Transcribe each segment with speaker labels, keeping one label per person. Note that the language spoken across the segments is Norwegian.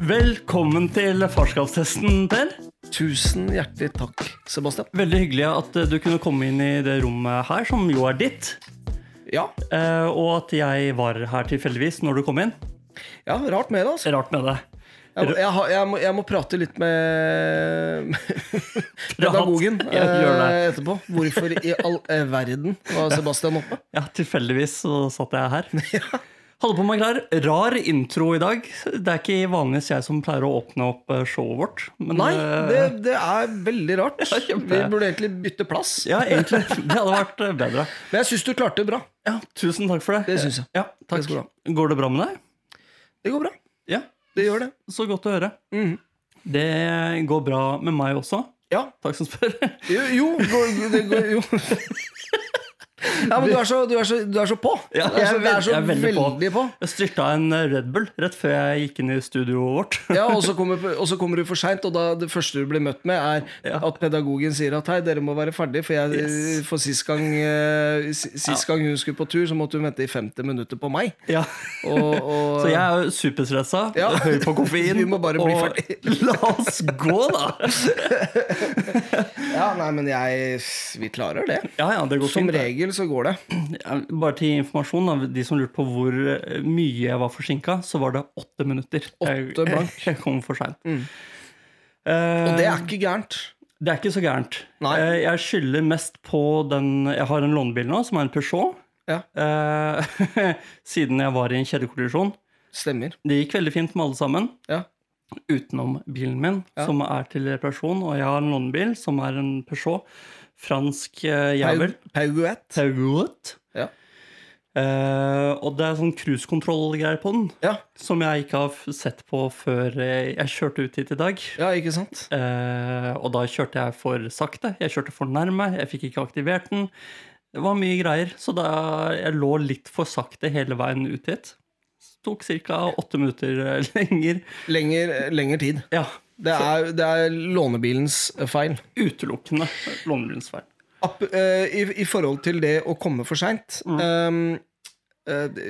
Speaker 1: Velkommen til farskapstesten, Per.
Speaker 2: Tusen hjertelig takk, Sebastian.
Speaker 1: Veldig hyggelig at eh, du kunne komme inn i det rommet her, som jo er ditt.
Speaker 2: Ja,
Speaker 1: eh, Og at jeg var her tilfeldigvis når du kom inn.
Speaker 2: ja rart med det, altså.
Speaker 1: Rart med det.
Speaker 2: Jeg, må- jeg, har- jeg, må, jeg må prate litt med pedagogen
Speaker 1: Ja,
Speaker 2: eh,
Speaker 1: gjør
Speaker 2: etterpå. Hvorfor i all eh, verden var Sebastian oppe?
Speaker 1: Ja, tilfeldigvis så satt jeg her. Holder på med klær. Rar intro i dag. Det er ikke vanligvis jeg som pleier å åpne opp eh, showet vårt. Men
Speaker 2: Nei,
Speaker 1: eh,
Speaker 2: det, det er veldig rart. Vi
Speaker 1: kjempe.
Speaker 2: burde egentlig bytte plass.
Speaker 1: Ja, egentlig. Det hadde vært eh, bedre.
Speaker 2: Men jeg syns du klarte det bra.
Speaker 1: Ja, Tusen takk for det.
Speaker 2: Det synes jeg.
Speaker 1: Ja, takk.
Speaker 2: Det skal du ha.
Speaker 1: Går det bra med deg?
Speaker 2: Det går bra.
Speaker 1: Ja,
Speaker 2: Det gjør det.
Speaker 1: så godt å høre.
Speaker 2: Mhm.
Speaker 1: Det går bra med meg også.
Speaker 2: Ja.
Speaker 1: Takk som spør.
Speaker 2: Jo, jo, går- det går, jo. Ja, men du er så, du er så, du er så på.
Speaker 1: Ja,
Speaker 2: du er så,
Speaker 1: jeg er
Speaker 2: du er
Speaker 1: veldig-
Speaker 2: så
Speaker 1: jeg er
Speaker 2: veldig,
Speaker 1: veldig på.
Speaker 2: på.
Speaker 1: Jeg styrta en Red Bull rett før jeg gikk inn i studioet vårt.
Speaker 2: Ja, og så kommer, og så kommer du for seint, og da det første du blir møtt med, er
Speaker 1: Ja.
Speaker 2: at pedagogen sier at hei, dere må være ferdig, for, jeg,
Speaker 1: Yes.
Speaker 2: for sist, gang, eh, si- sist gang hun skulle på tur, så måtte hun vente i 50 minutter på meg.
Speaker 1: Ja.
Speaker 2: Og, og,
Speaker 1: Så jeg er jo superstressa,
Speaker 2: Ja.
Speaker 1: høy på koffein.
Speaker 2: Vi må bare bli
Speaker 1: og La oss gå, da!
Speaker 2: Ja, nei, men jeg Vi klarer det.
Speaker 1: Ja, ja, det går
Speaker 2: Som
Speaker 1: fint. det.
Speaker 2: regel så går det.
Speaker 1: Ja, Bare til informasjon, da. de som lurte på hvor eh, mye jeg var forsinka, så var det åtte minutter. Jeg-
Speaker 2: Åtte blank. Mm.
Speaker 1: Jeg kom for seint.
Speaker 2: Og det er ikke gærent.
Speaker 1: Det er ikke så gærent.
Speaker 2: Nei.
Speaker 1: Eh, Jeg skylder mest på den Jeg har en lånebil nå, som er en Peugeot.
Speaker 2: Ja.
Speaker 1: Eh, siden jeg var i en kjedekollisjon.
Speaker 2: Stemmer.
Speaker 1: Det gikk veldig fint med alle sammen,
Speaker 2: Ja.
Speaker 1: utenom bilen min,
Speaker 2: Ja.
Speaker 1: som er til reparasjon. Og jeg har en lånebil som er en Peugeot. Fransk eh, jævel.
Speaker 2: Pau- Pauguett.
Speaker 1: Peugeot.
Speaker 2: Ja.
Speaker 1: Eh, og det er sånn cruisekontrollgreier på den,
Speaker 2: Ja.
Speaker 1: som jeg ikke har f- sett på før eh, jeg kjørte ut hit i dag.
Speaker 2: ja, ikke sant?
Speaker 1: Eh, og da kjørte jeg for sakte. Jeg kjørte for nærme. Jeg fikk ikke aktivert den. Det var mye greier. Så da jeg lå litt for sakte hele veien ut hit. Det tok ca. åtte minutter eh, lenger.
Speaker 2: Lenger, lenger tid.
Speaker 1: Ja,
Speaker 2: Det er, det er lånebilens feil.
Speaker 1: utelukkende lånebilens feil.
Speaker 2: App, eh, i, I forhold til det å komme for seint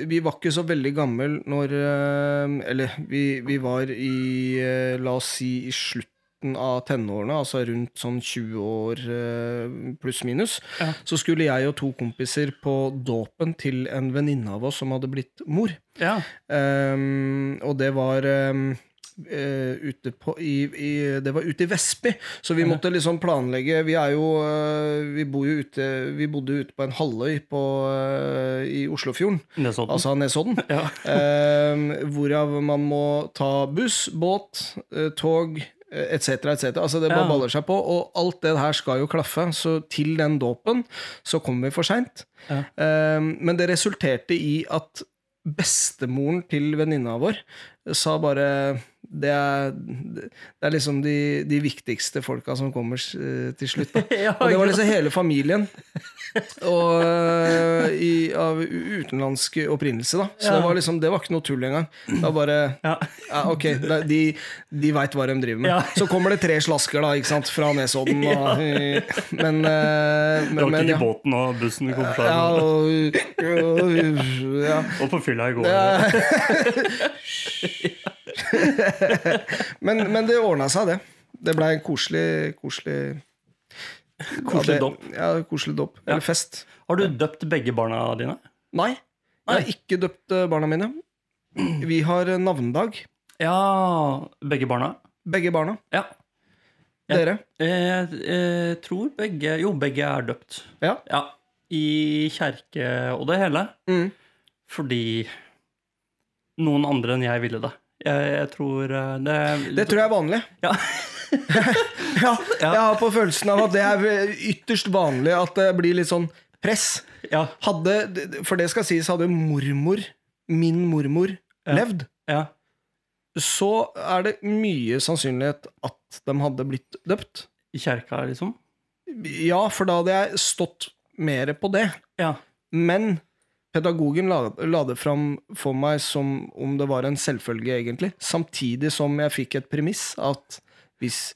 Speaker 2: Vi var ikke så veldig gammel når eh, Eller vi, vi var i eh, La oss si i slutten av tenårene, altså rundt sånn 20 år eh, pluss-minus.
Speaker 1: Ja.
Speaker 2: Så skulle jeg og to kompiser på dåpen til en venninne av oss som hadde blitt mor.
Speaker 1: Ja.
Speaker 2: Ehm, og det var ehm, eh, ute på i, i, Det var ute i Vestby, så vi måtte liksom planlegge Vi er jo eh, Vi bor jo ute Vi bodde ute på en halvøy på, eh, i Oslofjorden,
Speaker 1: Nesodden.
Speaker 2: altså Nesodden.
Speaker 1: ja.
Speaker 2: Ehm, hvorav man må ta buss, båt, eh, tog etc. etc. Altså det bare
Speaker 1: Ja.
Speaker 2: baller seg på, og alt det her skal jo klaffe. Så til den dåpen så kom vi for seint.
Speaker 1: Ja.
Speaker 2: Ehm, men det resulterte i at bestemoren til venninna vår sa bare Det er, det er liksom de, de viktigste folka som kommer eh, til slutt. Da.
Speaker 1: Ja,
Speaker 2: Og det
Speaker 1: ikke
Speaker 2: var liksom hele familien og, øh, i, av u- utenlandsk opprinnelse, da. Så
Speaker 1: Ja.
Speaker 2: det, var liksom, det var ikke noe tull engang. Det var bare
Speaker 1: Ja.
Speaker 2: ja, Ok, det- de, de veit hva de driver med.
Speaker 1: Ja.
Speaker 2: Så kommer det tre slasker da, ikke sant, fra Nesodden. Og, Men, øh, men, men
Speaker 1: Drakk
Speaker 2: ja.
Speaker 1: i båten og bussen kom fra.
Speaker 2: Ja, og, og, ja.
Speaker 1: Og på fylla i går.
Speaker 2: Men, men det ordna seg, det. Det blei en koselig Koselig
Speaker 1: Koselig
Speaker 2: ja, det-
Speaker 1: dåp.
Speaker 2: Ja, koselig dåp. Eller fest.
Speaker 1: Har du døpt begge barna dine?
Speaker 2: Nei. Jeg har ikke døpt eh, barna mine. Vi har eh, navnedag,
Speaker 1: Ja, begge barna.
Speaker 2: begge barna.
Speaker 1: Ja. Ja.
Speaker 2: Dere.
Speaker 1: Jeg, jeg tror begge Jo, begge er døpt.
Speaker 2: Ja.
Speaker 1: Ja, I kjerke og det hele.
Speaker 2: Mm.
Speaker 1: Fordi noen andre enn jeg ville det. Jeg, jeg tror eh, det,
Speaker 2: Det tror jeg er vanlig.
Speaker 1: Ja.
Speaker 2: ja,
Speaker 1: Ja.
Speaker 2: jeg har på følelsen av at det er eh, ytterst vanlig at det blir litt sånn press.
Speaker 1: Ja,
Speaker 2: Hadde, for det skal sies, hadde mormor, min mormor,
Speaker 1: Ja.
Speaker 2: levd,
Speaker 1: ja.
Speaker 2: så er det mye sannsynlighet at de hadde blitt døpt.
Speaker 1: I kjerka, liksom.
Speaker 2: Ja, for da hadde jeg stått mer på det.
Speaker 1: Ja.
Speaker 2: Men pedagogen la, la det fram for meg som om det var en selvfølge, egentlig. Samtidig som jeg fikk et premiss at hvis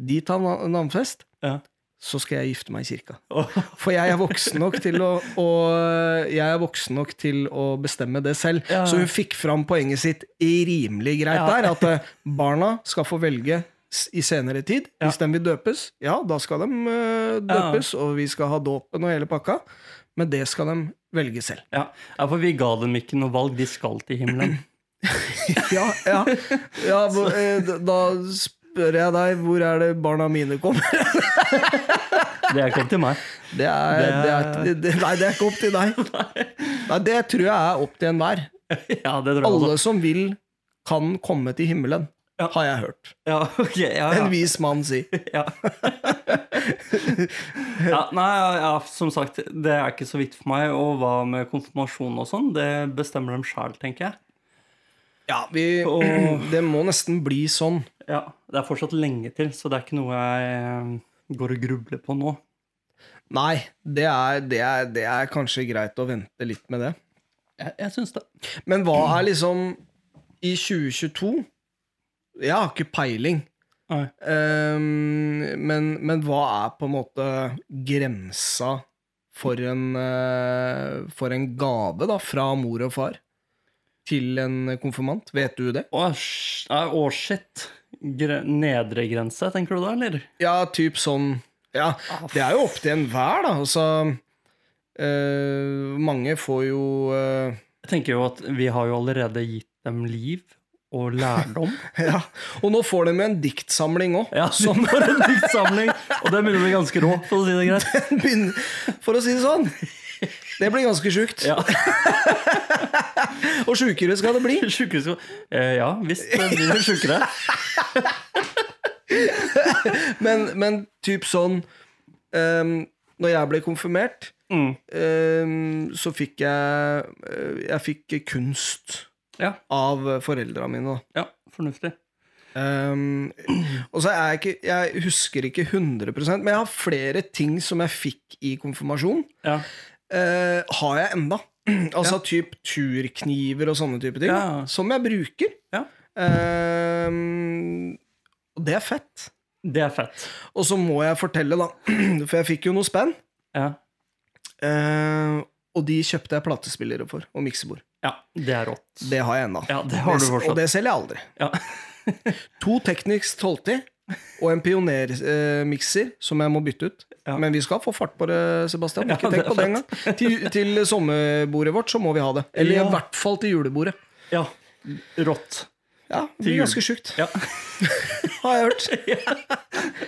Speaker 2: de tar na- navnfest,
Speaker 1: ja.
Speaker 2: så skal jeg gifte meg i kirka.
Speaker 1: Åh.
Speaker 2: For jeg er voksen nok til å, å, jeg er voksen nok til å bestemme det selv.
Speaker 1: Ja.
Speaker 2: Så hun fikk fram poenget sitt i rimelig greit
Speaker 1: Ja.
Speaker 2: der. At eh, barna skal få velge s- i senere tid.
Speaker 1: Ja.
Speaker 2: Hvis de vil døpes, ja, da skal de eh,
Speaker 1: Ja.
Speaker 2: døpes, og vi skal ha dåpen og hele pakka. Men det skal de velge selv.
Speaker 1: Ja. ja, for vi ga dem ikke noe valg. De skal til himmelen.
Speaker 2: Ja, ja. ja hvor- eh, d- da spør jeg deg, hvor er det barna mine kommer?
Speaker 1: Det kom til meg.
Speaker 2: Det er,
Speaker 1: Det
Speaker 2: det
Speaker 1: er-
Speaker 2: er, det nei, det er ikke opp til deg. Nei, det tror jeg er opp til enhver.
Speaker 1: Ja, det tror jeg også.
Speaker 2: Alle som vil, kan komme til himmelen,
Speaker 1: Ja.
Speaker 2: har jeg hørt.
Speaker 1: Ja, ok, ja, ja.
Speaker 2: En vis mann si.
Speaker 1: Ja. ja, nei, ja, ja, som sagt, det er ikke så vidt for meg. Og hva med konfirmasjon og sånn, det bestemmer dem sjæl, tenker jeg.
Speaker 2: Ja, vi,
Speaker 1: Og-
Speaker 2: det må nesten bli sånn.
Speaker 1: Ja, Det er fortsatt lenge til, så det er ikke noe jeg eh, går og grubler på nå.
Speaker 2: Nei, det er, det, er, det er kanskje greit å vente litt med det.
Speaker 1: Jeg, jeg syns det.
Speaker 2: Men hva er liksom I 2022 Jeg har ikke peiling.
Speaker 1: Nei.
Speaker 2: Ehm, men, men hva er på en måte grensa for en, eh, for en gave da, fra mor og far til en konfirmant? Vet du det?
Speaker 1: Å, sj- nei, å, shit. Gre nedre grense, tenker du da, eller?
Speaker 2: Ja, typ sånn Ja, det er jo opp til enhver, da. Altså eh, Mange får jo eh,
Speaker 1: Jeg tenker jo at vi har jo allerede gitt dem liv og lærdom.
Speaker 2: Ja. Og nå får de jo en diktsamling òg.
Speaker 1: Ja, sånn var en diktsamling, og den begynner å bli ganske rå, for å si det greit.
Speaker 2: For å si det sånn. Det blir ganske sjukt.
Speaker 1: Ja.
Speaker 2: Og sjukere skal det bli.
Speaker 1: Sjukehus eh, Ja visst, det blir jo sjukere.
Speaker 2: Men, men typ sånn ehm, Når jeg ble konfirmert,
Speaker 1: Mm.
Speaker 2: ehm, så fikk jeg eh, Jeg fikk kunst
Speaker 1: Ja,
Speaker 2: av foreldra mine. da.
Speaker 1: ja, fornuftig.
Speaker 2: Ehm, og så er jeg ikke Jeg husker ikke 100 men jeg har flere ting som jeg fikk i konfirmasjon.
Speaker 1: Ja,
Speaker 2: eh, har jeg enda. altså typ turkniver og sånne type ting.
Speaker 1: Ja.
Speaker 2: Som jeg bruker.
Speaker 1: Ja.
Speaker 2: Ehm, og det er fett.
Speaker 1: det er fett.
Speaker 2: Og så må jeg fortelle, da, for jeg fikk jo noe spenn.
Speaker 1: Ja,
Speaker 2: Eh, og de kjøpte jeg platespillere for, og miksebord.
Speaker 1: ja det er rått.
Speaker 2: Det har jeg ennå.
Speaker 1: Ja, det har du
Speaker 2: og
Speaker 1: fortsatt.
Speaker 2: det selger jeg aldri.
Speaker 1: Ja.
Speaker 2: To Technics 1210 og en pionermikser som jeg må bytte ut.
Speaker 1: Ja.
Speaker 2: Men vi skal få fart på det, Sebastian.
Speaker 1: Ja,
Speaker 2: Ikke
Speaker 1: det
Speaker 2: tenk
Speaker 1: er
Speaker 2: på det engang. Til, til sommerbordet vårt så må vi ha det. Eller
Speaker 1: Ja.
Speaker 2: i hvert fall til julebordet.
Speaker 1: Ja, rått.
Speaker 2: Ja, det
Speaker 1: Til
Speaker 2: blir
Speaker 1: jul.
Speaker 2: ganske sjukt,
Speaker 1: Ja,
Speaker 2: har jeg hørt.
Speaker 1: jeg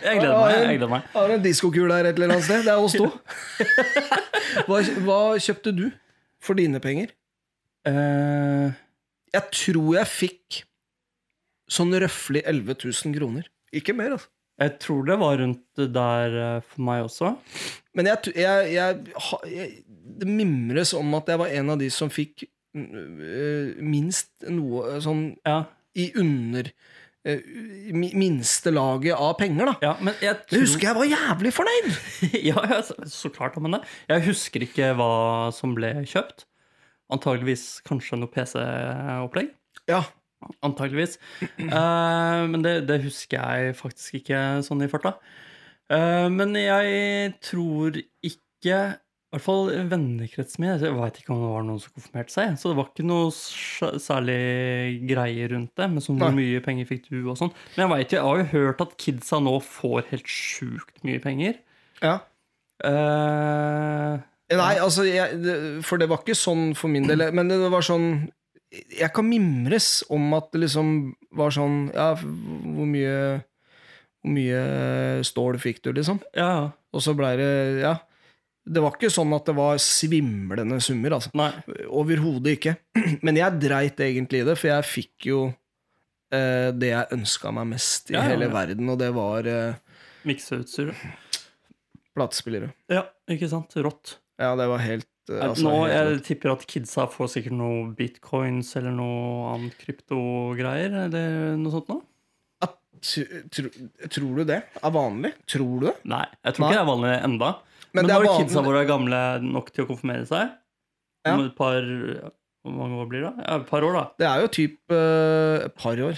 Speaker 1: gleder meg. Jeg gleder meg.
Speaker 2: Jeg har en diskokul der et eller annet sted. Det er oss to. Hva, hva kjøpte du for dine penger?
Speaker 1: Eh,
Speaker 2: Jeg tror jeg fikk sånn røffelig 11 000 kroner. Ikke mer, altså.
Speaker 1: jeg tror det var rundt der eh, for meg også.
Speaker 2: Men jeg, t- jeg, jeg, ha- jeg Det mimres om at jeg var en av de som fikk øh, minst noe øh, sånn
Speaker 1: Ja,
Speaker 2: i under øh, i mi- minste laget av penger, da.
Speaker 1: ja men jeg
Speaker 2: Det
Speaker 1: tror
Speaker 2: husker jeg var jævlig fornøyd!
Speaker 1: ja, ja, så, så klart har man det. Jeg husker ikke hva som ble kjøpt. Antageligvis kanskje noe PC-opplegg.
Speaker 2: Ja,
Speaker 1: Antageligvis. Eh, men det, det husker jeg faktisk ikke sånn i farta. Eh, men jeg tror ikke I hvert fall vennekretsen min. Jeg veit ikke om det var noen som konfirmerte seg. Så det var ikke noe sj- særlig greie rundt det. Men sånn, hvor
Speaker 2: Nei.
Speaker 1: mye penger fikk du, og sånn. Men jeg vet jo, jeg har jo hørt at kidsa nå får helt sjukt mye penger.
Speaker 2: ja.
Speaker 1: Eh,
Speaker 2: Nei, altså, jeg, det- for det var ikke sånn for min del. Men det var sånn Jeg kan mimres om at det liksom var sånn Ja, hvor mye Hvor mye stål fikk du, liksom?
Speaker 1: ja,
Speaker 2: Og så blei det Ja. Det var ikke sånn at det var svimlende summer, altså.
Speaker 1: nei.
Speaker 2: Overhodet ikke. Men jeg dreit egentlig i det, for jeg fikk jo eh, det jeg ønska meg mest i
Speaker 1: Ja, ja,
Speaker 2: hele
Speaker 1: ja.
Speaker 2: verden, og det var eh,
Speaker 1: Mikseutstyr.
Speaker 2: platespillere.
Speaker 1: Ja, ikke sant? Rått.
Speaker 2: Ja, det var helt eh, altså,
Speaker 1: Nå,
Speaker 2: helt
Speaker 1: jeg tipper at kidsa får sikkert noe bitcoins eller noe annet kryptogreier. Eller noe sånt nå.
Speaker 2: At, tro, tror du det er vanlig? Tror du det?
Speaker 1: Nei, jeg tror
Speaker 2: Nei.
Speaker 1: ikke det er vanlig enda. Men,
Speaker 2: Men det er
Speaker 1: når
Speaker 2: vanlig-
Speaker 1: kidsa våre er gamle nok til å konfirmere seg,
Speaker 2: Ja.
Speaker 1: om et par Hvor mange år blir det? da? Ja, et par år, da.
Speaker 2: Det er jo typ eh, et par år.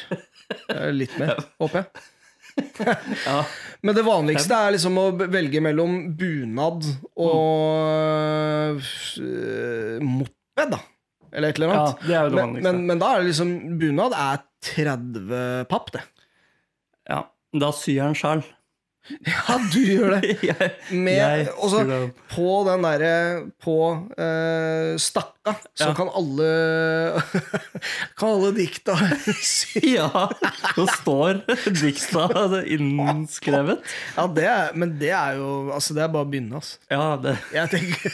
Speaker 2: Eh, Litt mer, håper jeg.
Speaker 1: Ja.
Speaker 2: Men det vanligste er liksom å velge mellom bunad
Speaker 1: Mm.
Speaker 2: og øh, moped, da. Eller et eller
Speaker 1: ja,
Speaker 2: annet.
Speaker 1: det er jo det
Speaker 2: men,
Speaker 1: vanligste.
Speaker 2: men, men da er det liksom Bunad er 30 papp, det.
Speaker 1: Ja. Da syr jeg den sjæl.
Speaker 2: Ja, du gjør det!
Speaker 1: Jeg,
Speaker 2: Med, altså-
Speaker 1: jeg
Speaker 2: også,
Speaker 1: syr den.
Speaker 2: på den derre På eh, stakka, så
Speaker 1: Ja.
Speaker 2: kan alle Kan alle dikta sy.
Speaker 1: Ja! Nå står dikta innskrevet.
Speaker 2: Ja, det er, men det er jo Altså, det er bare å begynne, altså.
Speaker 1: Ja, det
Speaker 2: Jeg tenker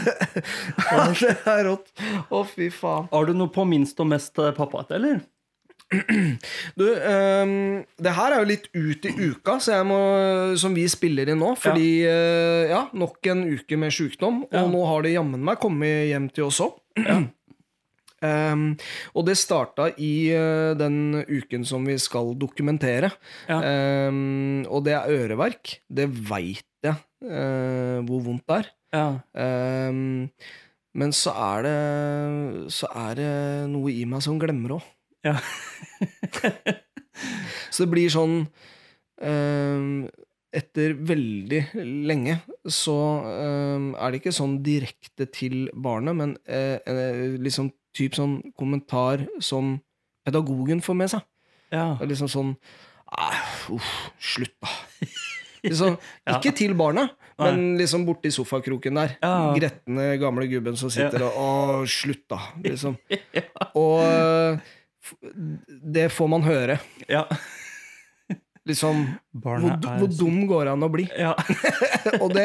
Speaker 2: Det er rått. Å, fy faen.
Speaker 1: Har du noe på minst og mest eh, pappaete, eller?
Speaker 2: Du, ehm, det her er jo litt ut i uka så jeg må, som vi spiller inn nå. Fordi eh, ja, nok en uke med sjukdom, og
Speaker 1: Ja.
Speaker 2: nå har det jammen meg kommet hjem til oss òg. Ehm, og det starta i eh, den uken som vi skal dokumentere.
Speaker 1: Ja.
Speaker 2: Ehm, og det er øreverk. Det veit jeg eh, hvor vondt det er.
Speaker 1: Ja.
Speaker 2: Ehm, men så er det Så er det noe i meg som glemmer òg.
Speaker 1: Ja.
Speaker 2: Så det blir sånn ehm, Etter veldig lenge så ehm, er det ikke sånn direkte til barnet, men eh, eh, liksom typ sånn kommentar som pedagogen får med seg.
Speaker 1: ja.
Speaker 2: Det er liksom sånn «Æ, uff, slutt, da. Liksom,
Speaker 1: Ja.
Speaker 2: ikke til barnet, men liksom borti sofakroken der.
Speaker 1: Ja.
Speaker 2: Gretne gamle gubben som sitter og Å, slutt, da. Liksom.
Speaker 1: Ja.
Speaker 2: Og eh, f- det får man høre.
Speaker 1: ja.
Speaker 2: Liksom hvor,
Speaker 1: Barnet
Speaker 2: hvor dum går det an å bli?
Speaker 1: Ja.
Speaker 2: Og det,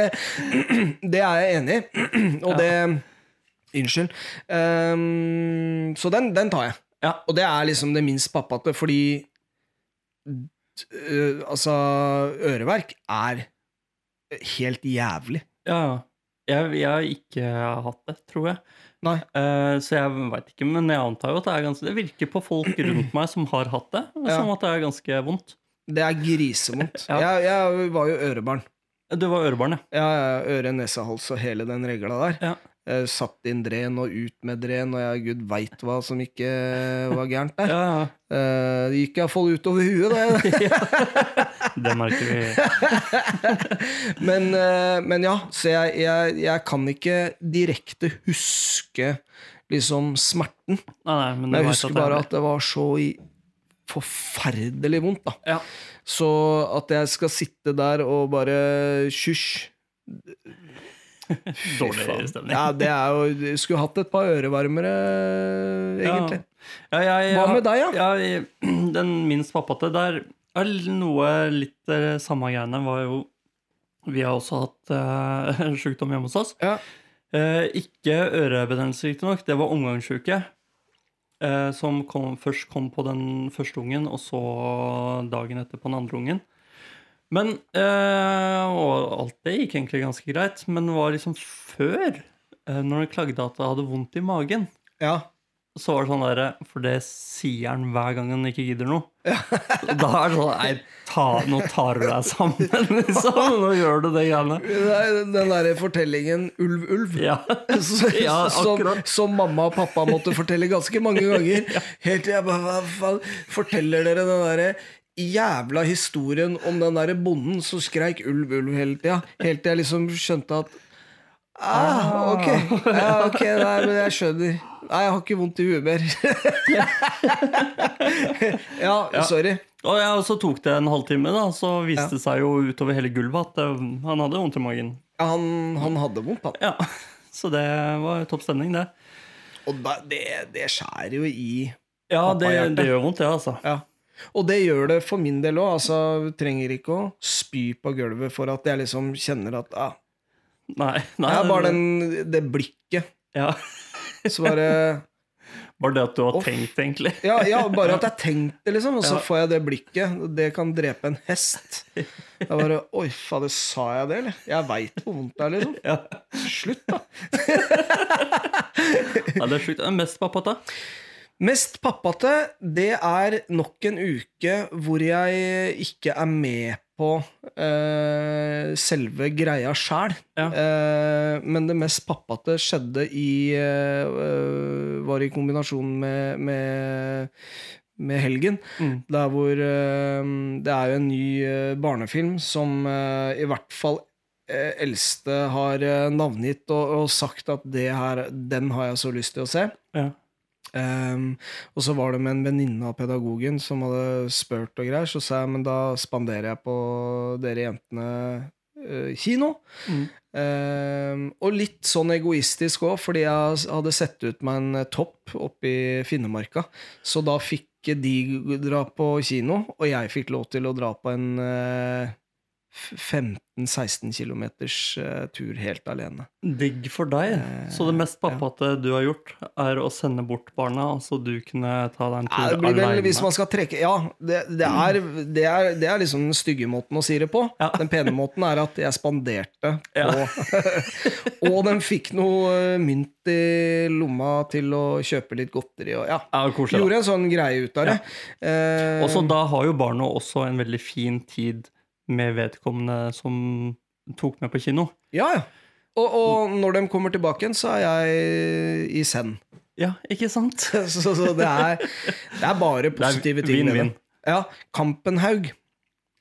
Speaker 2: det er jeg enig i. Og det Unnskyld. Ehm, så den, den tar jeg.
Speaker 1: Ja.
Speaker 2: Og det er liksom det minst pappate, fordi øh, Altså, øreverk er helt jævlig.
Speaker 1: ja. Jeg, jeg har ikke hatt det, tror jeg.
Speaker 2: Nei.
Speaker 1: Eh, så jeg veit ikke, men jeg antar jo at det er ganske Det virker på folk rundt meg som har hatt det,
Speaker 2: Ja.
Speaker 1: som at det er ganske vondt.
Speaker 2: Det er grisevondt.
Speaker 1: Ja.
Speaker 2: Jeg, jeg var jo ørebarn.
Speaker 1: Du var ørebarn, ja.
Speaker 2: Ja, ja, øre, nese, hals og hele den regla der.
Speaker 1: Ja.
Speaker 2: Jeg satt inn dren og ut med dren, og jeg gud veit hva som ikke var gærent der.
Speaker 1: ja. ja.
Speaker 2: Eh, Det gikk iallfall utover huet, det.
Speaker 1: Det merker vi.
Speaker 2: Men, eh, men ja, så jeg, jeg, jeg kan ikke direkte huske liksom smerten.
Speaker 1: Nei, nei, men du
Speaker 2: Men jeg
Speaker 1: vet
Speaker 2: husker
Speaker 1: det er
Speaker 2: bare
Speaker 1: det.
Speaker 2: at det var så i forferdelig vondt, da.
Speaker 1: Ja.
Speaker 2: Så at jeg skal sitte der og bare Hysj. Fy
Speaker 1: Dårlig
Speaker 2: faen.
Speaker 1: stemning.
Speaker 2: Ja, det er jo jeg Skulle hatt et par ørevarmere, egentlig.
Speaker 1: Ja. Ja, jeg,
Speaker 2: Hva med deg, da?
Speaker 1: Ja, jeg- den minst pappate der er l- noe litt eh, samme greiene var jo Vi har også hatt eh, en sykdom hjemme hos oss.
Speaker 2: Ja.
Speaker 1: Eh, ikke ørebetennelse, riktignok. Det var omgangssjuke. Eh, som kom, først kom på den første ungen, og så dagen etter på den andre ungen. Men eh, Og alt det gikk egentlig ganske greit, men det var liksom før, eh, når hun klagde at hun hadde vondt i magen
Speaker 2: Ja.
Speaker 1: så var det sånn der, For det sier han hver gang han ikke gidder noe. Og Da er det sånn Nei, ta, nå tar du deg sammen, liksom. Nå gjør du det greiene.
Speaker 2: Det er Den derre fortellingen Ulv, ulv.
Speaker 1: Ja.
Speaker 2: Så-
Speaker 1: Ja,
Speaker 2: som,
Speaker 1: akkurat.
Speaker 2: som mamma og pappa måtte fortelle ganske mange ganger. Helt til jeg bare Hva faen? Forteller dere den derre jævla historien om den derre bonden som skreik ulv, ulv hele tida? Helt til jeg liksom skjønte at Ah, ok. Ja, ok, nei, men jeg skjønner. Nei, jeg har ikke vondt i huet mer. ja, sorry.
Speaker 1: Og jeg også tok det en halvtime, da, så viste det seg jo utover hele gulvet at eh, han hadde vondt i magen.
Speaker 2: Ja, Han, han hadde vondt, han.
Speaker 1: Ja, Så det var topp stemning, det.
Speaker 2: Og da, det, det skjærer jo i
Speaker 1: Ja, det,
Speaker 2: Pappahjerte.
Speaker 1: det gjør vondt, det, altså.
Speaker 2: Ja. Og det gjør det for min del òg. Altså, jeg trenger ikke å spy på gulvet for at jeg liksom kjenner at ah,
Speaker 1: Nei, nei.
Speaker 2: Det er bare den, det blikket.
Speaker 1: ja.
Speaker 2: Så bare
Speaker 1: Bare det at du har
Speaker 2: Å,
Speaker 1: tenkt, egentlig.
Speaker 2: ja, ja, bare at jeg har tenkt det, liksom. Og så
Speaker 1: Ja.
Speaker 2: får jeg det blikket. Det kan drepe en hest. Jeg bare Oi, fader, sa jeg det, eller? Jeg veit hvor vondt det er, liksom.
Speaker 1: Ja.
Speaker 2: Slutt, da.
Speaker 1: Ja, det er sjukt. Mest pappata.
Speaker 2: Mest pappate, det er nok en uke hvor jeg ikke er med på eh, selve greia sjæl.
Speaker 1: Ja.
Speaker 2: Eh, men det mest pappate skjedde i eh, eh, Var i kombinasjon med, med, med helgen.
Speaker 1: Mm.
Speaker 2: Der hvor eh, Det er jo en ny eh, barnefilm som eh, i hvert fall eh, eldste har eh, navngitt og, og sagt at det her, den har jeg så lyst til å se.
Speaker 1: Ja.
Speaker 2: Ehm, og så var det med en venninne av pedagogen som hadde spurt og greier. Så sa jeg men da spanderer jeg på dere jentene eh, kino.
Speaker 1: Mm.
Speaker 2: Ehm, og litt sånn egoistisk òg, fordi jeg hadde sett ut meg en topp oppe i Finnemarka. Så da fikk de dra på kino, og jeg fikk lov til å dra på en eh, f- 15-16 km eh, tur helt alene.
Speaker 1: Digg for deg.
Speaker 2: Eh,
Speaker 1: Så det mest pappate du har gjort, er å sende bort barna, så du kunne ta deg en
Speaker 2: Ja,
Speaker 1: tur
Speaker 2: det blir vel
Speaker 1: aleine?
Speaker 2: hvis man skal trekke Ja, det, det, er, det, er, det er liksom den stygge måten å si det på.
Speaker 1: Ja.
Speaker 2: Den pene måten er at jeg spanderte på
Speaker 1: Ja.
Speaker 2: Og den fikk noe eh, mynt i lomma til å kjøpe litt godteri og ja.
Speaker 1: Ja, koselig, da.
Speaker 2: Gjorde en sånn greie ut av det. Eh,
Speaker 1: Og så da har jo barna også en veldig fin tid med vedkommende som tok med på kino.
Speaker 2: Eh, ja, ja. Og, og når de kommer tilbake igjen, så er jeg i send.
Speaker 1: Ja, ikke sant?
Speaker 2: Så, så det, er, det er bare positive
Speaker 1: Det er
Speaker 2: ting. med
Speaker 1: vinn-vinn.
Speaker 2: det. Ja, Kampenhaug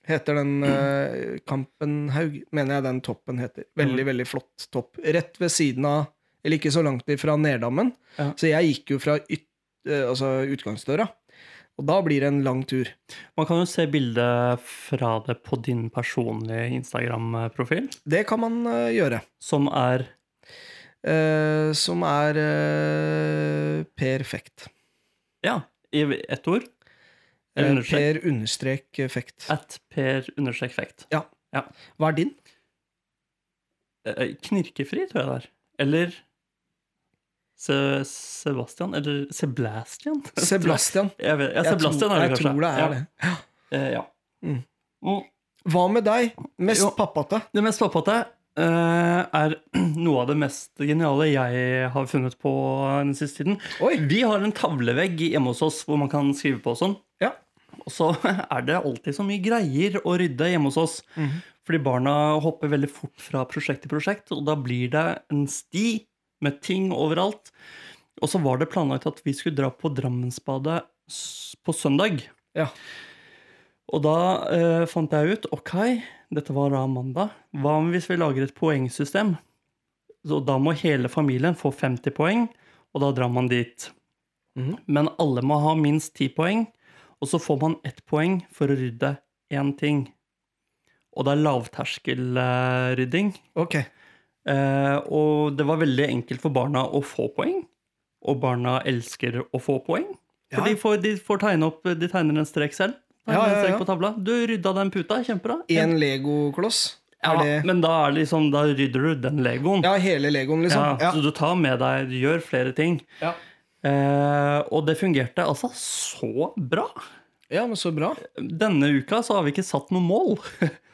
Speaker 2: heter den. eh, Kampenhaug, mener jeg den toppen heter. Veldig,
Speaker 1: Mm.
Speaker 2: veldig flott topp. Rett ved siden av, eller ikke så langt ifra Nerdammen.
Speaker 1: Ja.
Speaker 2: Så jeg gikk jo fra yt, eh, altså utgangsdøra. Og da blir det en lang tur.
Speaker 1: Man kan jo se bildet fra det på din personlige Instagram-profil,
Speaker 2: Det kan man eh, gjøre.
Speaker 1: som er
Speaker 2: Eh, som er eh, perfekt.
Speaker 1: Ja, i ett ord.
Speaker 2: Eh,
Speaker 1: Understrek
Speaker 2: per understrek effekt.
Speaker 1: at per understrek fekt.
Speaker 2: Hva er din?
Speaker 1: Eh, Knirkefri, tror jeg det er. Eller Se Sebastian? Eller Seblastian?
Speaker 2: Sebastian.
Speaker 1: Jeg, vet, ja,
Speaker 2: Jeg
Speaker 1: Sebastian
Speaker 2: tror,
Speaker 1: er det
Speaker 2: jeg
Speaker 1: kanskje.
Speaker 2: tror det er det.
Speaker 1: Ja. Eh, ja.
Speaker 2: Mm.
Speaker 1: Mm.
Speaker 2: Hva med deg? Mest
Speaker 1: Jo.
Speaker 2: pappate?
Speaker 1: Det mest pappate eh, er noe av det mest geniale jeg har funnet på den siste tiden.
Speaker 2: Oi.
Speaker 1: Vi har en tavlevegg hjemme hos oss hvor man kan skrive på og sånn.
Speaker 2: Ja.
Speaker 1: Og så er det alltid så mye greier å rydde hjemme hos oss.
Speaker 2: Mhm.
Speaker 1: Fordi barna hopper veldig fort fra prosjekt til prosjekt, og da blir det en sti med ting overalt. Og så var det planlagt at vi skulle dra på Drammensbadet s- på søndag.
Speaker 2: Ja.
Speaker 1: Og da eh, fant jeg ut ok, dette var da mandag. Hva om hvis vi lager et poengsystem? Så da må hele familien få 50 poeng, og da drar man dit.
Speaker 2: Mhm.
Speaker 1: Men alle må ha minst 10 poeng, og så får man ett poeng for å rydde én ting. Og det er lavterskelrydding.
Speaker 2: Ok.
Speaker 1: Eh, og det var veldig enkelt for barna å få poeng. Og barna elsker å få poeng. For
Speaker 2: Ja.
Speaker 1: de, får, de får tegne opp De tegner en strek selv. Tegner
Speaker 2: Ja, ja,
Speaker 1: en
Speaker 2: ja.
Speaker 1: strek på tavla. Du rydda den puta. Kjempebra.
Speaker 2: En legokloss?
Speaker 1: ja,
Speaker 2: Er det
Speaker 1: Men da, er det liksom, da rydder du den legoen.
Speaker 2: Ja, hele legoen, liksom?
Speaker 1: Ja,
Speaker 2: Ja.
Speaker 1: så du tar med deg Du gjør flere ting.
Speaker 2: Ja.
Speaker 1: Eh, og det fungerte altså så bra.
Speaker 2: ja, men så bra.
Speaker 1: Denne uka så har vi ikke satt noe mål.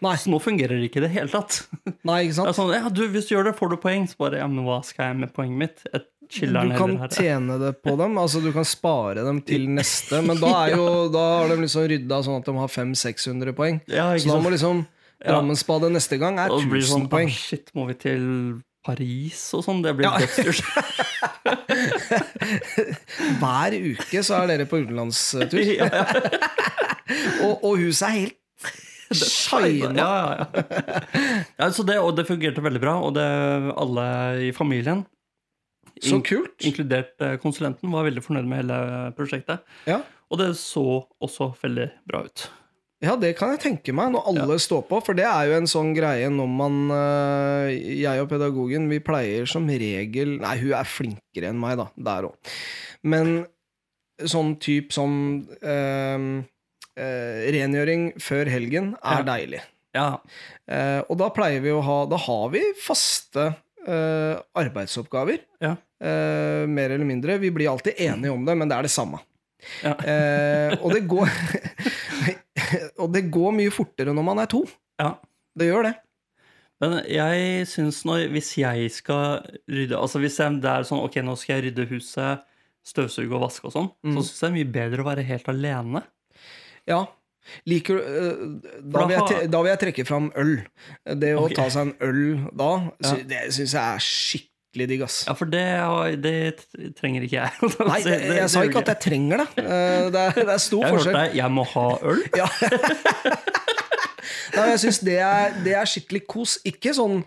Speaker 2: Nei.
Speaker 1: Så nå fungerer det ikke i det hele tatt.
Speaker 2: Nei, ikke
Speaker 1: Det er
Speaker 2: sant?
Speaker 1: sånn, ja, du, hvis du gjør det, får du poeng. Så bare, ja, men hva skal jeg med poenget mitt? Jeg chiller
Speaker 2: Du
Speaker 1: den
Speaker 2: kan
Speaker 1: heller her.
Speaker 2: tjene det på dem, altså du kan spare dem til neste, men da er jo Da har de liksom rydda sånn at de har 500-600 poeng.
Speaker 1: Ja, ikke
Speaker 2: Så da
Speaker 1: sant?
Speaker 2: må liksom Rammensbadet neste gang er
Speaker 1: Og det blir
Speaker 2: 1000
Speaker 1: sånn,
Speaker 2: poeng.
Speaker 1: «Ah, shit, må vi til Paris og sånn? Det blir
Speaker 2: Ja.
Speaker 1: dødsdyrt.
Speaker 2: Hver uke så er dere på utenlandstur.
Speaker 1: ja, ja,
Speaker 2: Og, og huset er helt
Speaker 1: ja,
Speaker 2: shina.
Speaker 1: ja, ja. ja så det, og det fungerte veldig bra, og det, alle i familien,
Speaker 2: Så kult.
Speaker 1: inkludert eh, konsulenten, var veldig fornøyd med hele prosjektet.
Speaker 2: Ja.
Speaker 1: Og det så også veldig bra ut.
Speaker 2: Ja, det kan jeg tenke meg, når alle står på. For det er jo en sånn greie når man øh, Jeg og pedagogen, vi pleier som regel Nei, hun er flinkere enn meg, da. Der òg. Men sånn type som øh, øh, Rengjøring før helgen er
Speaker 1: Ja.
Speaker 2: deilig.
Speaker 1: Ja,
Speaker 2: Eh, og da pleier vi å ha Da har vi faste eh, arbeidsoppgaver.
Speaker 1: Ja.
Speaker 2: Eh, mer eller mindre. Vi blir alltid enige om det, men det er det samme.
Speaker 1: Ja.
Speaker 2: Eh, og, det går, og det går mye fortere når man er to.
Speaker 1: ja.
Speaker 2: Det gjør det.
Speaker 1: Men jeg syns når Hvis jeg skal rydde Altså hvis jeg, det er sånn Ok, nå skal jeg rydde huset, støvsuge og vaske og sånn,
Speaker 2: Mm.
Speaker 1: så syns jeg det er mye bedre å være helt alene.
Speaker 2: Ja. Liker, du- eh, da,
Speaker 1: For da
Speaker 2: vil jeg,
Speaker 1: har-
Speaker 2: tre- da vil jeg trekke fram øl. Det å
Speaker 1: Ok.
Speaker 2: ta seg en øl da, sy,
Speaker 1: Ja.
Speaker 2: det syns jeg er skikkelig digg, ass.
Speaker 1: Ja, for det, har- det t- trenger ikke jeg.
Speaker 2: Nei, jeg, jeg sa ikke at jeg trenger det. Eh, Det er, det er stor
Speaker 1: Jeg hørte
Speaker 2: forskjell.
Speaker 1: deg. Jeg må ha øl.
Speaker 2: Ja. Nei, jeg syns det, er- det er skikkelig kos. Ikke sånn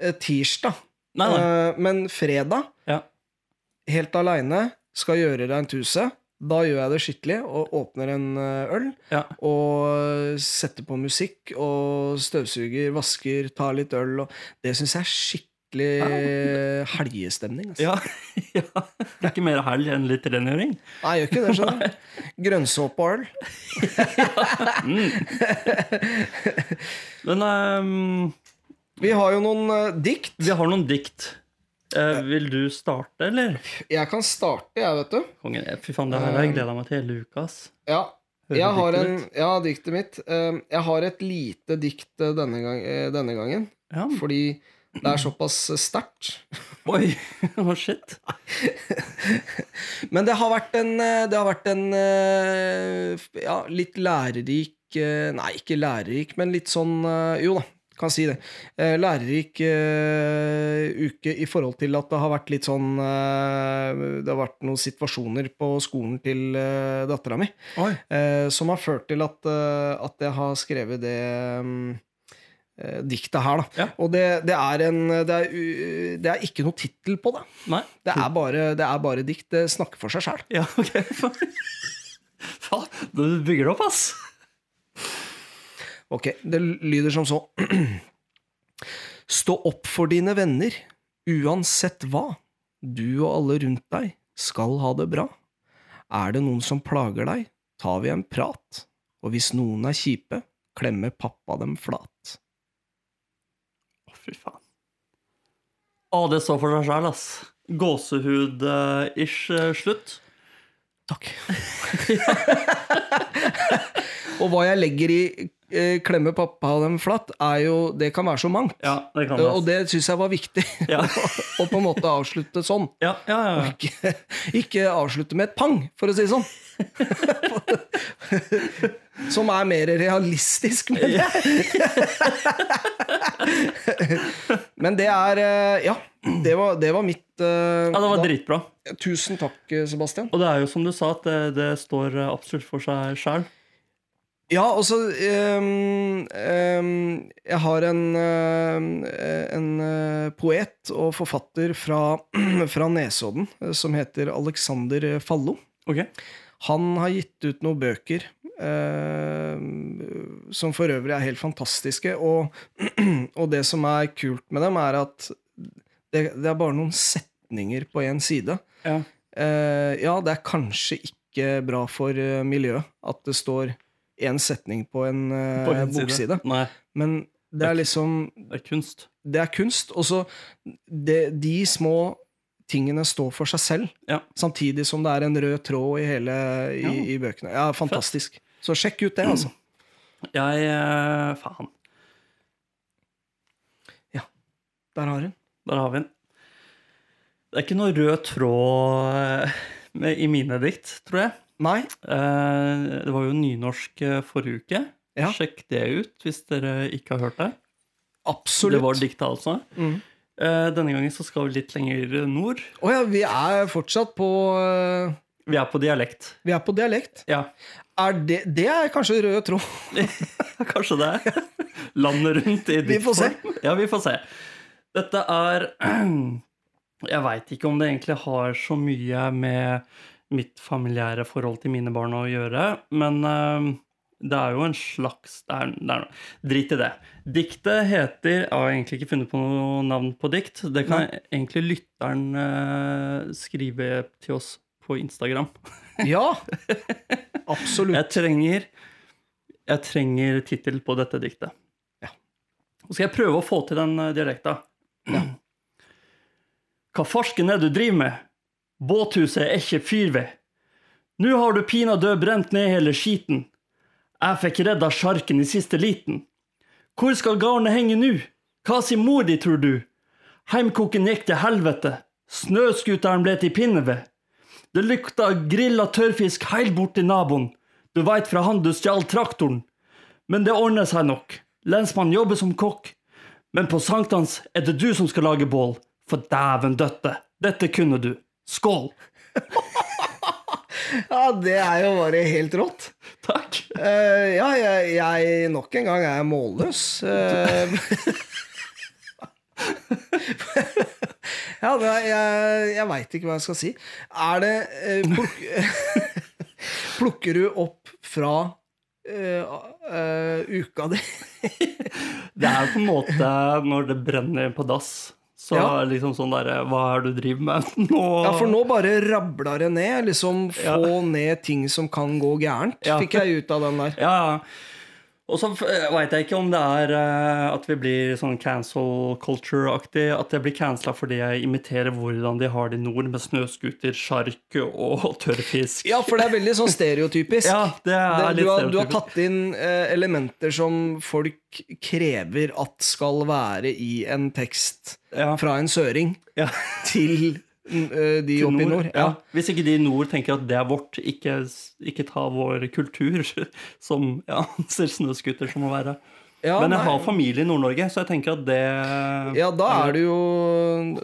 Speaker 2: eh, tirsdag,
Speaker 1: Nei, nei.
Speaker 2: eh, men fredag,
Speaker 1: Ja.
Speaker 2: helt aleine, skal gjøre deg en tuse. Da gjør jeg det skikkelig og åpner en eh, øl.
Speaker 1: Ja.
Speaker 2: Og eh, setter på musikk og støvsuger, vasker, tar litt øl. Og det syns jeg er skikkelig helgestemning. Altså.
Speaker 1: Ja. ja. Det er ikke mer helg enn litt rengjøring.
Speaker 2: Nei, jeg gjør ikke det, skjønner du. Grønnsåpe og øl.
Speaker 1: Men ehm,
Speaker 2: Vi har jo noen eh, dikt.
Speaker 1: vi har noen dikt. Eh, vil du starte, eller?
Speaker 2: Jeg kan starte, jeg, vet du.
Speaker 1: Kongen, eh, fy faen, det her har jeg gleda meg til hele uka. ass.
Speaker 2: Ja.
Speaker 1: Hører
Speaker 2: Ehm, Jeg har
Speaker 1: diktet ditt.
Speaker 2: en, ja, diktet mitt. Eh, Jeg har et lite dikt eh, denne, gang, eh, denne gangen,
Speaker 1: Ja.
Speaker 2: fordi det er såpass eh, sterkt.
Speaker 1: Oi, oh, shit.
Speaker 2: Men det har vært en, eh, det har vært en eh, f- ja, litt lærerik eh, Nei, ikke lærerik, men litt sånn eh, Jo da, kan si det. Eh, Lærerik eh, uke i forhold til at det har vært litt sånn eh, Det har vært noen situasjoner på skolen til eh, dattera mi
Speaker 1: Oi.
Speaker 2: eh, som har ført til at, eh, at jeg har skrevet det mm, eh, diktet her, da.
Speaker 1: Ja.
Speaker 2: Og det, det er en det er, u- det er ikke noe tittel på det.
Speaker 1: Nei.
Speaker 2: Det er bare, det er bare dikt. Det snakker for seg sjæl.
Speaker 1: Ja, ok. Faen, du bygger det opp, ass.
Speaker 2: Ok, det lyder som så. Stå opp for dine venner, uansett hva. Du og alle rundt deg skal ha det bra. Er det noen som plager deg, tar vi en prat. Og hvis noen er kjipe, klemmer pappa dem flat.
Speaker 1: Å, fy faen. Å, det står for seg sjæl, ass. Gåsehud-ish eh, slutt.
Speaker 2: Takk. og hva jeg legger i eh, klemme pappa dem flatt, er jo Det kan være så mangt.
Speaker 1: Ja, det kan
Speaker 2: Og det syns jeg var viktig,
Speaker 1: Ja.
Speaker 2: å på en måte avslutte sånn.
Speaker 1: Ja, ja, ja, ja.
Speaker 2: Ikke, ikke avslutte med et pang, for å si det sånn. Som er mer realistisk, men Men det er eh, Ja, det var, det var mitt eh,
Speaker 1: ja det var
Speaker 2: da-
Speaker 1: dritbra.
Speaker 2: Tusen takk, eh, Sebastian.
Speaker 1: Og det er jo som du sa, at det, det står eh, absolutt for seg sjæl.
Speaker 2: Ja, og så ehm, ehm, Jeg har en, ehm, en eh, poet og forfatter fra, fra Nesodden eh, som heter Alexander eh, Fallo.
Speaker 1: Ok.
Speaker 2: Han har gitt ut noen bøker eh, som for øvrig er helt fantastiske. Og, og det som er kult med dem, er at det, det er bare noen setninger på én side.
Speaker 1: Ja.
Speaker 2: Eh, ja, det er kanskje ikke bra for eh, miljøet at det står én setning på en, eh,
Speaker 1: På en side.
Speaker 2: bokside,
Speaker 1: Nei,
Speaker 2: men det er liksom
Speaker 1: det er kunst.
Speaker 2: Det er kunst. Og så det- De små tingene står for seg selv.
Speaker 1: Ja.
Speaker 2: Samtidig som det er en rød tråd i hele i,
Speaker 1: Ja.
Speaker 2: i bøkene. Ja, fantastisk. Så sjekk ut det, altså.
Speaker 1: Jeg eh, Faen,
Speaker 2: Der har hun.
Speaker 1: der har vi den. Det er ikke noe rød tråd eh, med- i mine dikt, tror jeg.
Speaker 2: Nei.
Speaker 1: Eh, Det var jo nynorsk eh, forrige uke.
Speaker 2: Ja.
Speaker 1: Sjekk det ut hvis dere ikke har hørt det. Det var
Speaker 2: Absolutt.
Speaker 1: diktet, altså.
Speaker 2: Mhm.
Speaker 1: Eh, Denne gangen så skal vi litt lenger nord.
Speaker 2: Å ja, vi er fortsatt på eh,
Speaker 1: Vi er på dialekt.
Speaker 2: Vi er på dialekt.
Speaker 1: Ja,
Speaker 2: Er det, det er kanskje rød tråd.
Speaker 1: kanskje det. er. Landet rundt i
Speaker 2: Vi får se.
Speaker 1: diktform. Ja, vi får se. Dette er Jeg veit ikke om det egentlig har så mye med mitt familiære forhold til mine barn å gjøre, men eh, det er jo en slags det er, det er, noe- Drit i det. Diktet heter Jeg har egentlig ikke funnet på noe navn på dikt. Det kan egentlig lytteren eh, skrive til oss på Instagram.
Speaker 2: Ja. Absolutt.
Speaker 1: Jeg trenger Jeg trenger tittel på dette diktet.
Speaker 2: Ja.
Speaker 1: Og skal jeg prøve å få til den eh, dialekta. Hva farsken er du driver med? Båthuset er ikke fyr ved. Nå har du pinadø brent ned hele skiten. Jeg fikk redda sjarken i siste liten. Hvor skal garnet henge nu? Hva si mor di, tror du? Heimkoken gikk til helvete. Snøskuteren ble til pinneved. Det lukta grilla tørrfisk helt bort til naboen. Du veit fra han du stjal traktoren. Men det ordner seg nok. Lensmannen jobber som kokk. Men på sankthans er det du som skal lage bål. For dæven døtte, dette kunne du. Skål!
Speaker 2: Ja, det er jo bare helt rått.
Speaker 1: Takk.
Speaker 2: Eh, ja, jeg, jeg nok en gang er målløs. Eh, ja, det er, jeg, jeg veit ikke hva jeg skal si. Er det eh, pluk, Plukker du opp fra eh, eh, uka di?
Speaker 1: Det er jo på en måte når det brenner på dass. Så
Speaker 2: Ja.
Speaker 1: liksom sånn derre Hva er det du driver med nå?
Speaker 2: Ja, for nå bare rabler det ned. Liksom få ned ting som kan gå gærent,
Speaker 1: Ja.
Speaker 2: fikk jeg ut av den der.
Speaker 1: Ja, ja. Og så veit jeg ikke om det er eh, at vi blir sånn cancel culture-aktig. At jeg blir cancela fordi jeg imiterer hvordan de har det i nord, med snøscooter, sjark og tørrfisk.
Speaker 2: Ja, for det er veldig sånn stereotypisk.
Speaker 1: Ja, det er
Speaker 2: Det,
Speaker 1: litt
Speaker 2: du, har, du har
Speaker 1: stereotypisk.
Speaker 2: tatt inn eh, elementer som folk krever at skal være i en tekst
Speaker 1: Ja.
Speaker 2: fra en søring
Speaker 1: Ja.
Speaker 2: til mm, eh, de oppe i nord.
Speaker 1: Ja.
Speaker 2: Ja.
Speaker 1: Hvis ikke de i nord tenker at det er vårt, ikke, ikke ta vår kultur som ja, ser snøscooter som å være.
Speaker 2: Ja,
Speaker 1: Men jeg
Speaker 2: nei.
Speaker 1: har familie i Nord-Norge, så jeg tenker at det
Speaker 2: ja, da er du jo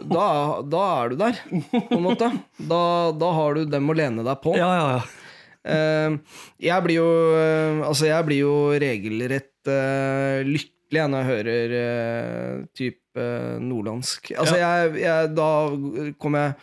Speaker 2: da, da er du der, på en måte. Da, da har du dem å lene deg på.
Speaker 1: Ja, ja, ja.
Speaker 2: Eh, jeg blir jo eh, Altså, jeg blir jo regelrett eh, lykkelig når jeg hører eh, type eh, nordlandsk. Altså, jeg, jeg Da kom jeg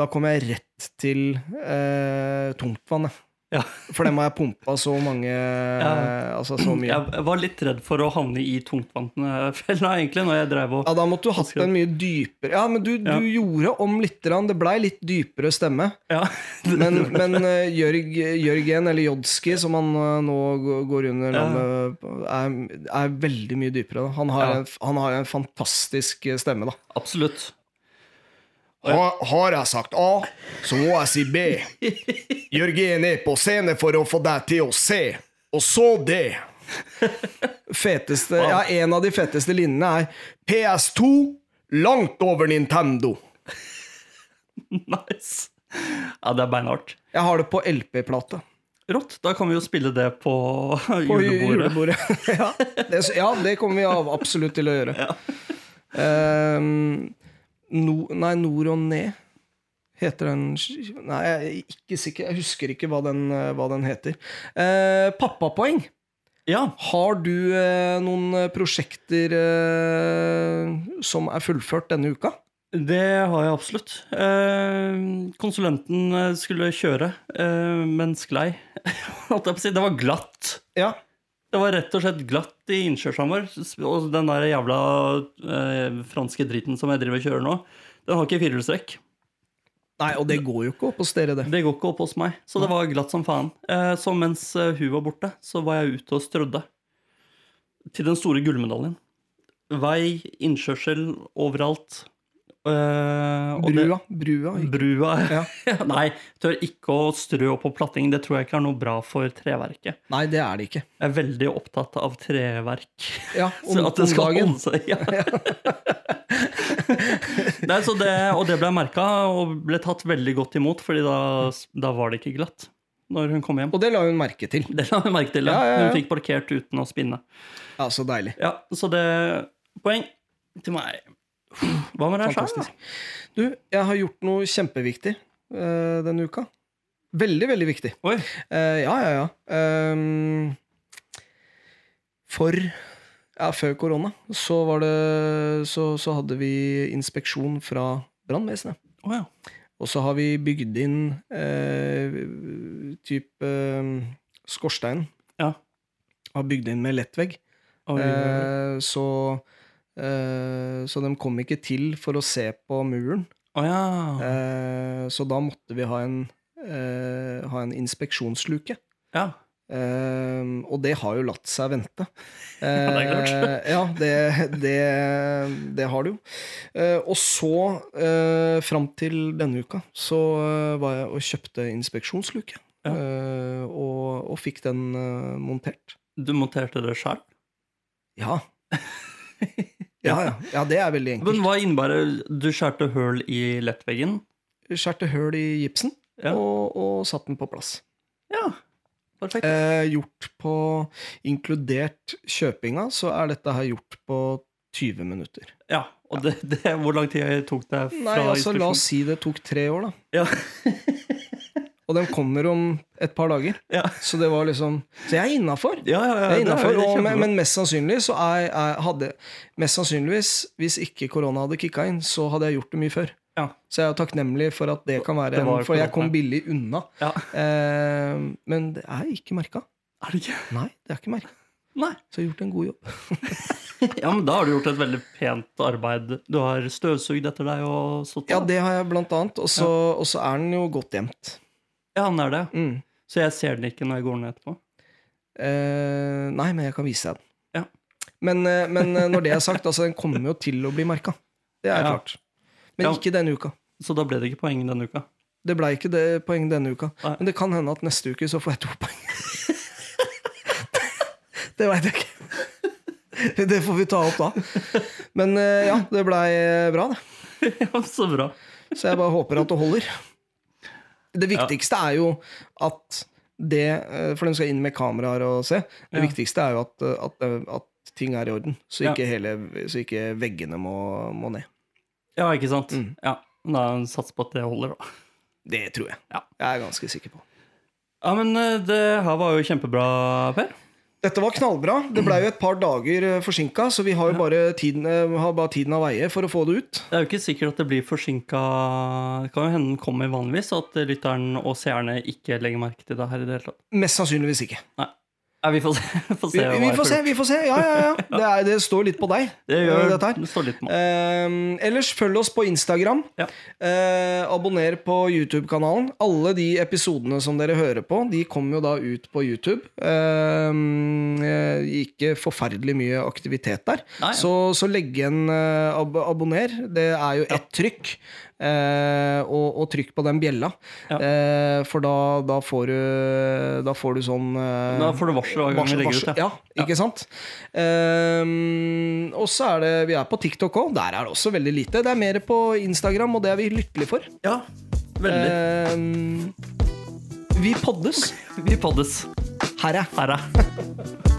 Speaker 2: Da kom jeg rett til eh, tungtvann, jeg.
Speaker 1: Ja.
Speaker 2: For dem har jeg pumpa så mange eh, Altså, så mye.
Speaker 1: Jeg var litt redd for å havne i tungtvannfella, egentlig, når jeg drev og
Speaker 2: Ja, da måtte du hatt en mye dypere Ja, men du,
Speaker 1: Ja.
Speaker 2: du gjorde om lite grann. Det blei litt dypere stemme.
Speaker 1: ja.
Speaker 2: Men, men eh, Jørg, Jørgen, eller Jodski, som han eh, nå g- går under
Speaker 1: Ja.
Speaker 2: navnet, er, er veldig mye dypere. Da. Han, har
Speaker 1: Ja.
Speaker 2: en, han har en fantastisk eh, stemme, da.
Speaker 1: Absolutt.
Speaker 2: Har, jeg sagt A, så må jeg si B. Jørgen er på scenen for å få deg til å se, og så D. Feteste, ja, en av de feteste linjene er PS2 langt over Nintendo.
Speaker 1: Nice. Ja, det er beinhardt.
Speaker 2: Jeg har det på LP-plate.
Speaker 1: Rått. Da kan vi jo spille det på
Speaker 2: På
Speaker 1: julebordet.
Speaker 2: julebordet. ja, det, ja, det kommer vi av absolutt til å gjøre. Ehm, no, nei, Nord og Ned heter den sk- Nei, jeg er ikke sikker. Jeg husker ikke hva den, eh, hva den heter. Eh, pappapoeng.
Speaker 1: Ja.
Speaker 2: Har du eh, noen eh, prosjekter eh, som er fullført denne uka?
Speaker 1: Det har jeg absolutt. Eh, konsulenten eh, skulle kjøre, eh, men sklei. Holdt jeg på å si. Det var glatt.
Speaker 2: Ja.
Speaker 1: Det var rett og slett glatt i innkjørselen vår. Og den der jævla eh, franske driten som jeg driver og kjører nå, den har ikke firehjulstrekk.
Speaker 2: Nei, og det går jo ikke opp hos dere, det.
Speaker 1: Det går ikke opp hos meg, så det var glatt som faen. Eh, så mens eh, hun var borte, så var jeg ute og strødde. Til den store gullmedaljen. Vei, innkjørsel, overalt. Eh, og det-
Speaker 2: Brua. Brua. ikke-
Speaker 1: Brua
Speaker 2: Ja.
Speaker 1: Nei, tør ikke å strø på platting. Det tror jeg ikke er noe bra for treverket.
Speaker 2: Nei, det er det ikke.
Speaker 1: Jeg er veldig opptatt av treverk.
Speaker 2: Ja, om,
Speaker 1: Så at det
Speaker 2: om
Speaker 1: skal
Speaker 2: dagen.
Speaker 1: holde seg. Ja. Nei, så det, og det ble merka og ble tatt veldig godt imot, Fordi da, da var det ikke glatt når hun kom hjem.
Speaker 2: Og det la hun merke til.
Speaker 1: Det la hun merke til. Ja.
Speaker 2: Ja, ja, ja.
Speaker 1: Hun fikk parkert uten å spinne.
Speaker 2: Ja, så deilig.
Speaker 1: Ja, Så det Poeng til meg. Hva med deg sjøl?
Speaker 2: Fantastisk. Du, jeg har gjort noe kjempeviktig eh, denne uka. Veldig, veldig viktig.
Speaker 1: Oi.
Speaker 2: Eh, ja, ja, ja. Ehm, for ja, før korona så var det så, så hadde vi inspeksjon fra brannvesenet.
Speaker 1: Å ja.
Speaker 2: Og så har vi bygd inn uh, type eh, skorstein.
Speaker 1: Ja.
Speaker 2: Har bygd inn med lettvegg.
Speaker 1: Oi, oi, oi.
Speaker 2: Eh, så, eh, så de kom ikke til for å se på muren.
Speaker 1: Å ja.
Speaker 2: Eh, Så da måtte vi ha en, eh, ha en inspeksjonsluke.
Speaker 1: ja.
Speaker 2: Eh, og det har jo latt seg vente.
Speaker 1: Ja, det er klart.
Speaker 2: Eh, ja, det, det, det har det jo. Eh, og så, eh, fram til denne uka, så eh, var jeg og kjøpte inspeksjonsluke.
Speaker 1: Ja.
Speaker 2: Eh, og, og fikk den eh, montert.
Speaker 1: Du monterte det sjøl?
Speaker 2: Ja. Ja, ja. ja, det er veldig enkelt.
Speaker 1: Men hva innebærer Du skjærte høl i lettveggen?
Speaker 2: Skjærte høl i gipsen
Speaker 1: Ja.
Speaker 2: og, og satt den på plass.
Speaker 1: Ja. Perfekt.
Speaker 2: Eh, gjort på Inkludert kjøpinga, så er dette her gjort på 20 minutter.
Speaker 1: Ja, og det, det, hvor lang tid tok det fra
Speaker 2: Nei, altså La oss si det tok tre år, da.
Speaker 1: Ja,
Speaker 2: Og den kommer om et par dager.
Speaker 1: ja,
Speaker 2: Så det var liksom Så jeg er innafor!
Speaker 1: ja, ja, ja,
Speaker 2: Jeg er
Speaker 1: det
Speaker 2: innenfor,
Speaker 1: jo
Speaker 2: og,
Speaker 1: kjempebra.
Speaker 2: men, men mest sannsynlig så er, er, hadde Mest sannsynligvis, hvis ikke korona hadde kicka inn, så hadde jeg gjort det mye før.
Speaker 1: Ja.
Speaker 2: Så jeg er jo takknemlig for at det kan være
Speaker 1: Det
Speaker 2: en,
Speaker 1: var
Speaker 2: For jeg
Speaker 1: korona.
Speaker 2: kom billig unna.
Speaker 1: Ja.
Speaker 2: Eh, men det er ikke merka.
Speaker 1: Er det ikke?
Speaker 2: Nei, det er ikke merka.
Speaker 1: Nei.
Speaker 2: Så jeg har gjort en god jobb.
Speaker 1: Ja, men da har du gjort et veldig pent arbeid. Du har støvsugd etter deg og sånt.
Speaker 2: Ja, det har jeg blant annet. Og så og så er den jo godt gjemt.
Speaker 1: Ja, han er det.
Speaker 2: Mm.
Speaker 1: Så jeg ser den ikke når jeg går ned etterpå.
Speaker 2: Eh, nei, men jeg kan vise deg den.
Speaker 1: Ja.
Speaker 2: Men, eh, men eh, når det er sagt, altså, den kommer jo til å bli merka. Det er
Speaker 1: Ja.
Speaker 2: klart.
Speaker 1: Ja.
Speaker 2: Men ikke denne uka.
Speaker 1: Så da ble det ikke poeng denne uka.
Speaker 2: Det blei ikke det poeng denne uka.
Speaker 1: Nei.
Speaker 2: Men det kan hende at neste uke så får jeg to poeng. det veit jeg ikke. Det får vi ta opp da. Men eh, ja, det blei bra, det.
Speaker 1: Ja, så bra.
Speaker 2: Så jeg bare håper at det holder. Det viktigste er jo at det eh, For de skal inn med kameraer og se. Det
Speaker 1: Ja.
Speaker 2: viktigste er jo at, eh, at, eh, at ting er i orden, så
Speaker 1: Ja.
Speaker 2: ikke, hele, så ikke veggene må, må ned.
Speaker 1: Ja, ikke sant?
Speaker 2: Mm.
Speaker 1: Ja, Da sats på at det holder, da.
Speaker 2: Det tror jeg.
Speaker 1: Ja.
Speaker 2: Jeg er ganske sikker på.
Speaker 1: Ja, men eh, det her var jo kjempebra, Per.
Speaker 2: Dette var knallbra. Det blei jo et par dager forsinka, så vi har jo bare tiden, eh, har bare tiden av veie for å få det ut.
Speaker 1: Det er jo ikke sikkert at det blir forsinka Det kan jo hende den kommer vanligvis, og at lytteren og seerne ikke legger merke til det her i det hele tatt.
Speaker 2: Mest sannsynligvis ikke.
Speaker 1: Nei. Ja, vi får se. får
Speaker 2: Vi,
Speaker 1: se hva
Speaker 2: vi
Speaker 1: jeg
Speaker 2: får se, vi får se. Ja, ja, ja. Det, er, det står litt på deg. eh,
Speaker 1: Det gjør
Speaker 2: dette her.
Speaker 1: det står litt med.
Speaker 2: Ehm, ellers følg oss på Instagram.
Speaker 1: Ja.
Speaker 2: Eh, abonner på YouTube-kanalen. Alle de episodene som dere hører på, de kommer jo da ut på YouTube. Ehm, eh, ikke forferdelig mye aktivitet der.
Speaker 1: Nei.
Speaker 2: Så, så legg igjen eh, ab abonner. Det er jo ett trykk. Eh, og, og trykk på den bjella.
Speaker 1: Ja.
Speaker 2: Eh, for da, da får du Da får du sånn eh,
Speaker 1: Da får du varsel hver gang vi
Speaker 2: Varsel-
Speaker 1: legger
Speaker 2: varsel-
Speaker 1: ut.
Speaker 2: Ja, ikke sant? Ehm, og så er det Vi er på TikTok òg. Der er det også veldig lite. Det er mer på Instagram, og det er vi lykkelige for.
Speaker 1: Ja, veldig.
Speaker 2: Ehm, vi poddes.
Speaker 1: Vi poddes.
Speaker 2: Her er
Speaker 1: Her er